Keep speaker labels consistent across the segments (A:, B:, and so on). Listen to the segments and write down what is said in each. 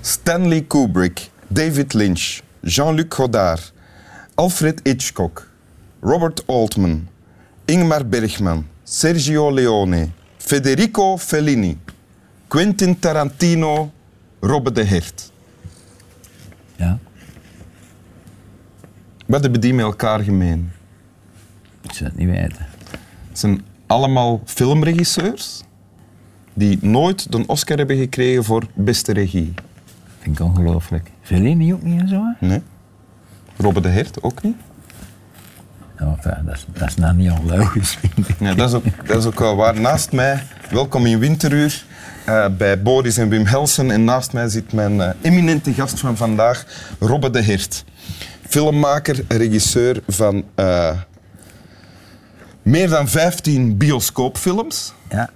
A: Stanley Kubrick, David Lynch, Jean-Luc Godard, Alfred Hitchcock, Robert Altman, Ingmar Bergman, Sergio Leone, Federico Fellini, Quentin Tarantino, Robbe de Hert.
B: Ja.
A: Wat hebben die met elkaar gemeen?
B: Ik zou het niet weten.
A: Het zijn allemaal filmregisseurs die nooit de Oscar hebben gekregen voor beste regie.
B: Vind ik ongelooflijk. Fellini ook niet en zo? hè?
A: Nee. Robbe de Hert ook niet.
B: Nou, enfin, dat, is, dat is nou niet onlogisch. vind ik.
A: Nee, dat is ook, dat is ook wel waar. Naast mij, welkom in Winteruur, eh, bij Boris en Wim Helsen. En naast mij zit mijn eh, eminente gast van vandaag, Robbe de Hert. Filmmaker, regisseur van eh, meer dan 15 bioscoopfilms.
B: ja.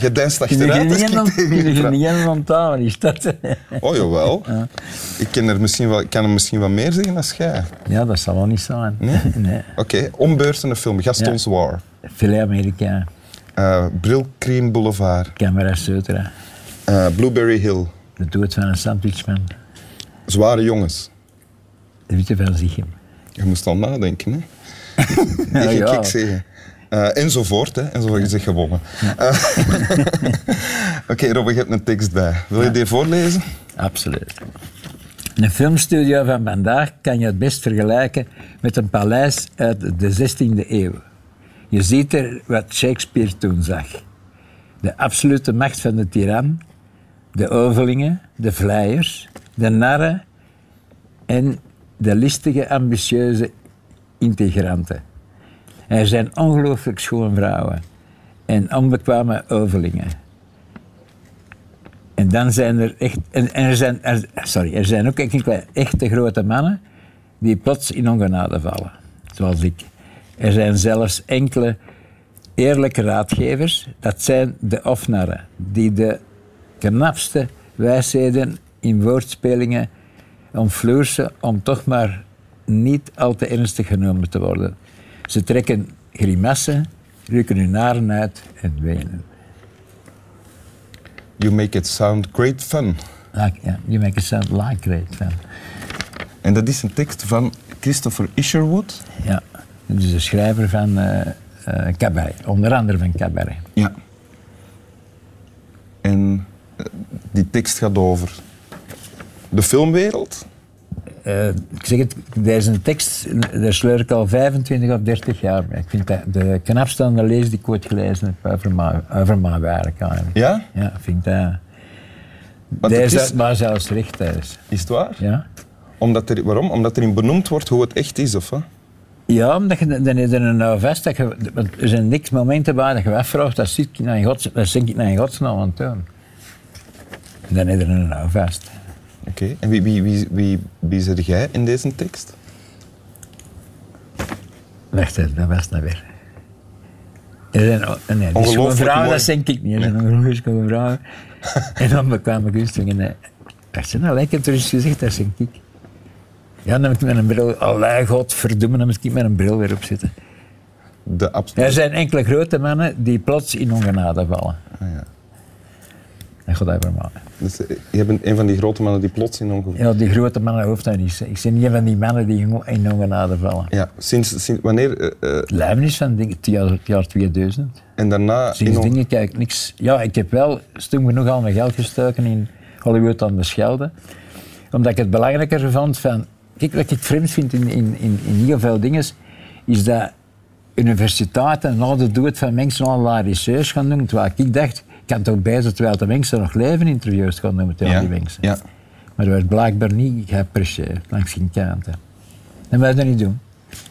A: Je deinst
B: Kun je
A: achteruit.
B: geen
A: dus ik
B: jen ont-
A: tegen
B: kun
A: je
B: je
A: vraag.
B: geen jen onthouden, is dat?
A: Oh, jawel. Ik ken er misschien wel, ik kan er misschien wat meer zeggen dan jij.
B: Ja, dat zal wel niet zijn.
A: Nee?
B: nee.
A: Oké, ombeurtende film. Gaston's War.
B: Filet Amerikaan,
A: Eh Brilcream Boulevard.
B: Camera Sutra,
A: Eh, Blueberry Hill.
B: De Dood van een Sandwichman,
A: Zware jongens.
B: De Witte van Zichem.
A: Je moest al nadenken, hè? Die ging
B: ja.
A: ik zeggen. Eh, enzovoort, hè? Enzovoort, je zegt gewonnen. Eh, Oké, Robin, je hebt een tekst bij. Wil je die voorlezen?
B: Absoluut. Een filmstudio van vandaag kan je het best vergelijken met een paleis uit de 16e eeuw. Je ziet er wat Shakespeare toen zag. De absolute macht van de tiran, de overlingen, de vleiers, de narren en de listige, ambitieuze integranten. Er zijn ongelooflijk schoon vrouwen en onbekwame overlingen. En dan zijn er echt. En, en er zijn, er- sorry, er zijn ook enkele echte grote mannen die plots in ongenade vallen. Zoals ik. Er zijn zelfs enkele eerlijke raadgevers. Dat zijn de ofnarren, die de knapste wijsheden in woordspelingen omfloersen om toch maar niet al te ernstig genomen te worden. Ze trekken grimassen, rukken hun naren uit en wenen.
A: You make it sound great fun.
B: Like, ja, you make a sound like great fan.
A: En dat is een tekst van Christopher Isherwood.
B: Ja, dat is de schrijver van eh eh, Cabaret, onder andere van Cabaret.
A: Ja. En eh, die tekst gaat over de filmwereld.
B: Eh, ik zeg het, deze tekst, daar sleur ik al 25 of 30 jaar mee. Ik vind dat de knapste analyse die ik ooit gelezen heb eh, over mijn, over mijn werk eigenlijk.
A: Ja?
B: Ja, ik vind dat...
A: Want het
B: Deze
A: is,
B: had maar zelfs recht thuis.
A: is het waar?
B: Ja?
A: Omdat er, waarom? Omdat erin benoemd wordt hoe het echt is, of wat?
B: Ja, omdat je dan- dan is er een nou vast dat je, want er zijn niks momenten waar dat je afvraagt, dat zit ik naar in gods, dat zit ik naar in godsnaam aan het doen. Dan is er een nou vast.
A: Oké, en wie, wie, wie, wie, wie zit jij in deze tekst?
B: Wacht even, dat was dat weer. Er zijn, oh, nee, die
A: Ongelooflijk
B: schoon vrouwen,
A: mooi.
B: dat denk ik niet. Er zijn ongelooflijk schoon vrouwen. en onbekwame kunstelingen. Nee. Wacht, ze nou, ik heb er eens gezegd, dat denk ik. Ja, dan moet ik met een bril... Allee, godverdomme, dan moet ik met een bril weer op zitten.
A: De absolute.
B: Er zijn enkele grote mannen die plots in ongenade vallen.
A: Ah, ja.
B: En God hebben maar.
A: Dus eh, je bent een van die grote mannen die plots in ongeveer. Ja.
B: Ja, die grote mannen hoeft dat niet. Ik ben niet van die mannen die in- in ongenade vallen.
A: sinds, sinds wanneer? eh, eh,
B: Lijmenis van denk ik, het jaar, het jaar 2000.
A: en daarna. in on-
B: Sindsdien kijk ik niks. Ja, ik heb wel stom genoeg al mijn geld gestoken in Hollywood aan de Schelde. Omdat ik het belangrijker vond van... Kijk, wat ik vreemd vind in, in, in, in heel veel dingen, is dat universiteiten na de dood van mensen allerlei research gaan doen. Terwijl ik dacht, ik kan toch bezig terwijl de mensen nog leven interviews gaan doen met al die
A: ja,
B: mensen.
A: ja.
B: Maar dat werd blijkbaar niet geapprecieerd, langs geen kant. hè. En wij dat niet doen.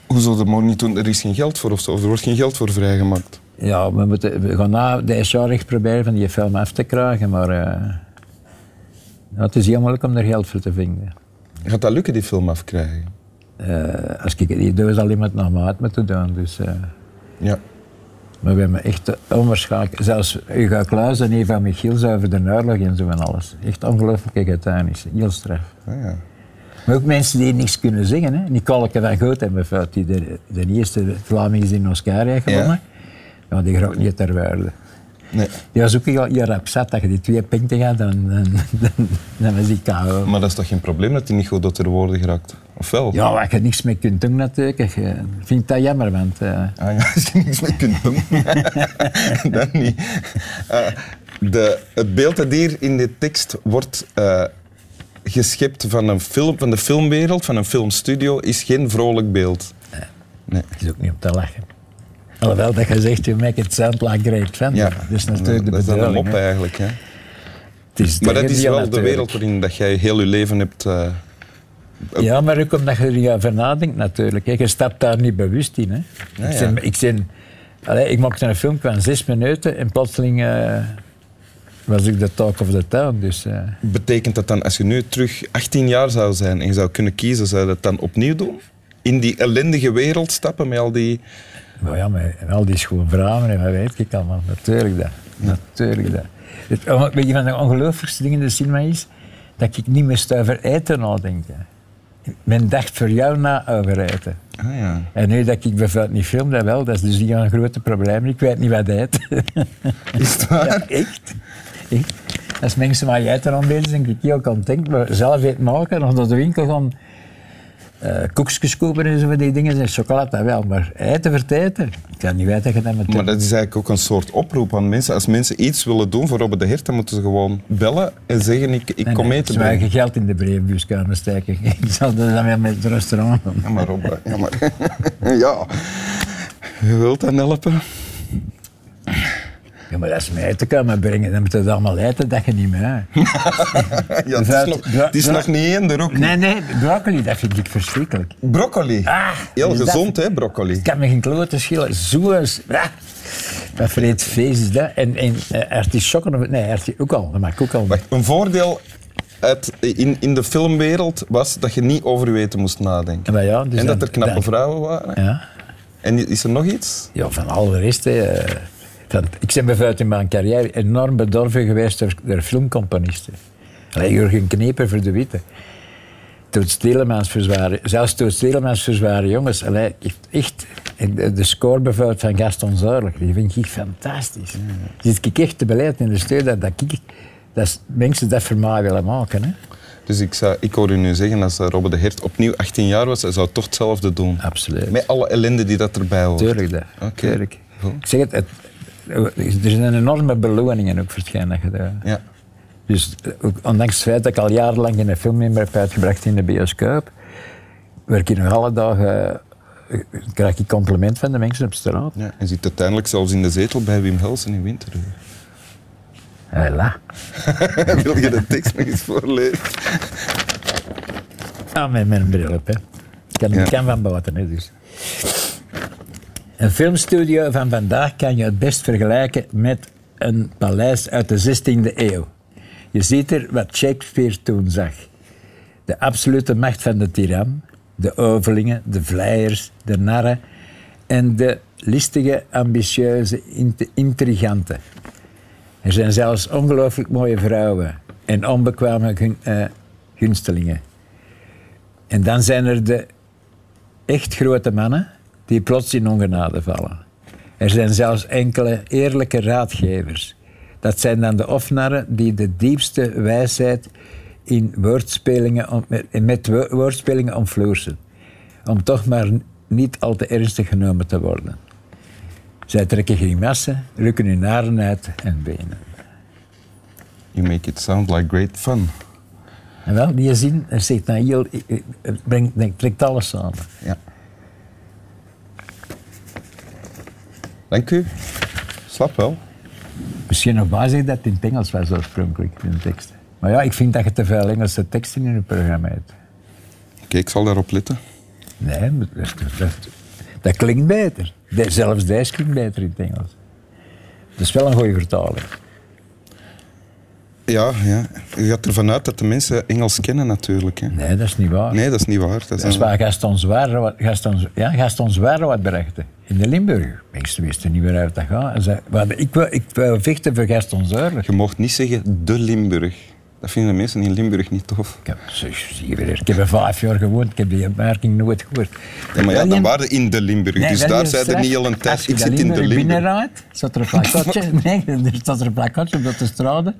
A: Hoezo dat maar niet doen? Er is geen geld voor of zo. Of er wordt geen geld voor vrijgemaakt.
B: Ja, we, moeten, we gaan na de SR echt proberen van die film af te krijgen, maar eh, ja, het is heel moeilijk om er geld voor te vinden.
A: Gaat dat lukken, die film afkrijgen?
B: Eh, als ik die doos al iemand nog maar uit moeten doen, dus eh,
A: Ja.
B: Maar we hebben echt onwaarschijnlijk... Zelfs Hugo Kluis en Eva Michiels over de oorlog en zo en alles. Echt ongelooflijke getuigenis. Heel straf.
A: Ah, ja.
B: Maar ook mensen die niks kunnen zingen. Hè. Nicoleke van Goot hebben fout, die de, de eerste Vlaming is in Oscar heeft gewonnen. Ja. die groot niet ter waarde.
A: Nee.
B: Die was ook heel, heel rap zat dat je die twee punten gaat, dan, dan, dan, dan was die KO.
A: Maar dat is toch geen probleem dat hij niet goed door de woorden geraakt? Of wel?
B: Ja, waar je niks mee kunt doen natuurlijk. Ik eh, vind dat jammer, want... eh,
A: Ah ja, als je niks meer kunt doen, dan niet. Eh, de, het beeld dat hier in de tekst wordt eh, geschept van, een film, van de filmwereld, van een filmstudio, is geen vrolijk beeld. Nee.
B: Het is ook niet om te lachen. Alhoewel dat je zegt, you make it sound like great fun.
A: Ja,
B: Dat is natuurlijk de
A: dat is dan een
B: bedoeling.
A: mop
B: hè.
A: eigenlijk. Hè?
B: Het is
A: Maar dat is
B: tegendeel
A: wel de
B: natuurlijk.
A: wereld waarin dat jij heel je leven hebt. eh,
B: Ja, maar ook omdat je er niet over nadenkt natuurlijk. hè. Je stapt daar niet bewust in. Hè.
A: Ja,
B: ik,
A: ja.
B: zin, ik, zin, allee, ik maakte een film van zes minuten en plotseling eh, was ik de talk of the town. Dus, eh,
A: betekent dat dan, als je nu terug 18 jaar zou zijn en je zou kunnen kiezen, zou je dat dan opnieuw doen? In die ellendige wereld stappen met al die.
B: maar ja, maar al die schoon vrouwen en wat weet ik allemaal. Natuurlijk dat. Natuurlijk dat. Het, oh, weet je, van de ongelooflijkste dingen in de cinema is dat ik niet meer over eten nadenken. Men dacht voor jou na over eten.
A: Ah ja.
B: En nu dat ik bijvoorbeeld niet film, dat wel. Dat is dus niet een grote probleem. Ik weet niet wat hij eet.
A: Is het waar?
B: Ja, echt. echt. Als mensen maar jij er aan bezig zijn, denk ik heel content. Maar zelf eten maken, of naar de winkel gaan eh koekjes kopen en zo van die dingen. En chocolade dat wel, maar eten verteten. Ik kan niet weten dat je dat met
A: Maar dat is eigenlijk ook een soort oproep aan mensen. Als mensen iets willen doen voor Robert de Hert, dan moeten ze gewoon bellen en zeggen: Ik, ik kom mee te
B: Zwaar
A: brengen.
B: geld in de brievenbuskamer steken. Ik zal dat dan weer met het restaurant doen.
A: Ja, maar Robbe, ja, maar. ja. Je wilt dan helpen?
B: Ja, maar als ze mij eten komen brengen, dan moet het allemaal eten dat je niet meer.
A: Ja, het is
B: Fruit-
A: nog,
B: ja,
A: het is
B: ja.
A: nog niet één, de rook.
B: Nee, nee, broccoli, dat vind ik verschrikkelijk.
A: Broccoli.
B: Ah,
A: Heel
B: is dat-
A: gezond, hè, broccoli.
B: Het kan me geen klote schelen. Zoers. Ah, wat voor iets feest is dat? En, en eh, artisjokken of- Nee, arti- ook al. Dat maak ik ook al.
A: Wacht, een voordeel uit, in, in de filmwereld was dat je niet over je weten moest nadenken.
B: Maar ja, dus
A: en dat
B: dan-
A: er knappe
B: dan-
A: vrouwen waren.
B: Ja.
A: En is er nog iets?
B: ja, van al de rest. hè, eh, van, ik ben bijvoorbeeld in mijn carrière enorm bedorven geweest door, door filmcomponisten. Allee, Jurgen Kneper voor de Witte. Toet Stelemans verzwaren. Zelfs Toet Stelemans verzwaren jongens. Allee, echt- echt. En De, de score bijvoorbeeld van Gaston Zuidelijk, die vind ik fantastisch. Zit ik echt te beleid in de steun dat, dat, ik, dat s- mensen dat voor mij willen maken. Hè?
A: Dus ik, zou, ik hoor u nu zeggen, als eh, Robert de Hert opnieuw 18 jaar was, hij zou toch hetzelfde doen.
B: Absoluut.
A: Met alle ellende die dat erbij hoort.
B: Tuurlijk dat.
A: Oké.
B: Tuurlijk. Ik zeg het, het, er zijn enorme beloningen ook voor hetgeen dat je dat-
A: Ja.
B: Dus eh, ook ondanks het feit dat ik al jarenlang geen film meer heb uitgebracht in de bioscoop, werk ik nog alle dagen, eh, krijg ik compliment van de mensen op straat.
A: ja. En zit uiteindelijk zelfs in de zetel bij Wim Helsen in Winteruur.
B: Hela.
A: Wil je de tekst nog eens voorlezen?
B: Ah, met mijn bril op, hè. Ik kan,
A: Ja.
B: ik kan van buiten, hè, dus. Een filmstudio van vandaag kan je het best vergelijken met een paleis uit de 16e eeuw. Je ziet er wat Shakespeare toen zag. De absolute macht van de tiran, de overlingen, de vleiers, de narren en de listige, ambitieuze, int- intriganten. Er zijn zelfs ongelooflijk mooie vrouwen en onbekwame gun- eh, gunstelingen. En dan zijn er de echt grote mannen die plots in ongenade vallen. Er zijn zelfs enkele eerlijke raadgevers. Dat zijn dan de ofnarren die de diepste wijsheid in woordspelingen om, met- met wo- woordspelingen omvloersen. Om toch maar niet al te ernstig genomen te worden. Zij trekken grimassen, rukken hun haren uit en benen.
A: You make it sound like great fun.
B: En wel, die zin eh, zegt dan heel, eh, eh, het brengt, het trekt alles samen.
A: Ja. Dank u. Slap wel.
B: Misschien nog maar zeggen dat het in het Engels was oorspronkelijk, in de tekst. Maar ja, ik vind dat je te veel Engelse teksten in je programma hebt.
A: Oké, ik zal daarop letten.
B: Nee, maar dat, dat, dat klinkt beter. De- zelfs deze klinkt beter in het Engels. Dat is wel een goede vertaling.
A: Ja, ja. Je gaat ervan uit dat de mensen Engels kennen natuurlijk. Hè.
B: Nee, dat is niet waar.
A: Nee, dat is niet waar. Dat is
B: Dat is
A: een-
B: waar Gaston Zwaar, Gaston, ja, Gaston Zwaar wat berechte. in de Limburg. Meesten wisten niet meer uit dat gaan. En zei, maar ik, wil, ik wil vechten voor Gaston Zuilen.
A: Je mocht niet zeggen de Limburg. Dat vinden de mensen in Limburg niet tof.
B: Ik heb, zus, zie je weer, ik heb er vijf jaar gewoond, ik heb die opmerking nooit gehoord.
A: Ja, maar ja,
B: België-
A: dan waren in de Limburg.
B: Nee,
A: dus
B: wel
A: daar
B: heel
A: zijn er
B: straf.
A: niet al een
B: Als
A: tijd.
B: je
A: Ik
B: dat
A: zit in de Limburg.
B: binnenrijdt, staat er een plakatje. nee, er staat er een plakatje op de straten.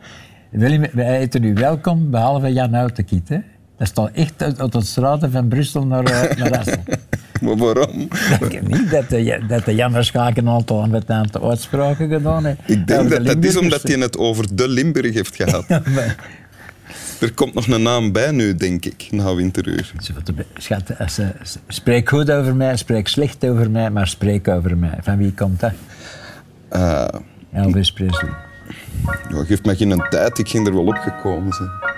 B: Willem, wij heten u welkom, behalve Jan Houtenkiet. hè. Dat staat echt uit, uit de straten van Brussel naar, eh, naar Assel.
A: Maar waarom?
B: Ik denk niet dat de, Ja- dat de Jan Verschaak een aantal met een aantal uitspraken gedaan heeft.
A: Ik denk
B: Over de dus-
A: dat dat is
B: Limburgers.
A: omdat hij het over de Limburg heeft gehad. Er komt nog een naam bij nu, denk ik, na Winteruur.
B: Ze wat de be- Schat, als ze- ze- spreek goed over mij, spreek slecht over mij, maar spreek over mij. Van wie komt dat?
A: Eh, Ah,
B: Elvis Presley.
A: ja, geef mij geen tijd, ik ging er wel opgekomen zijn.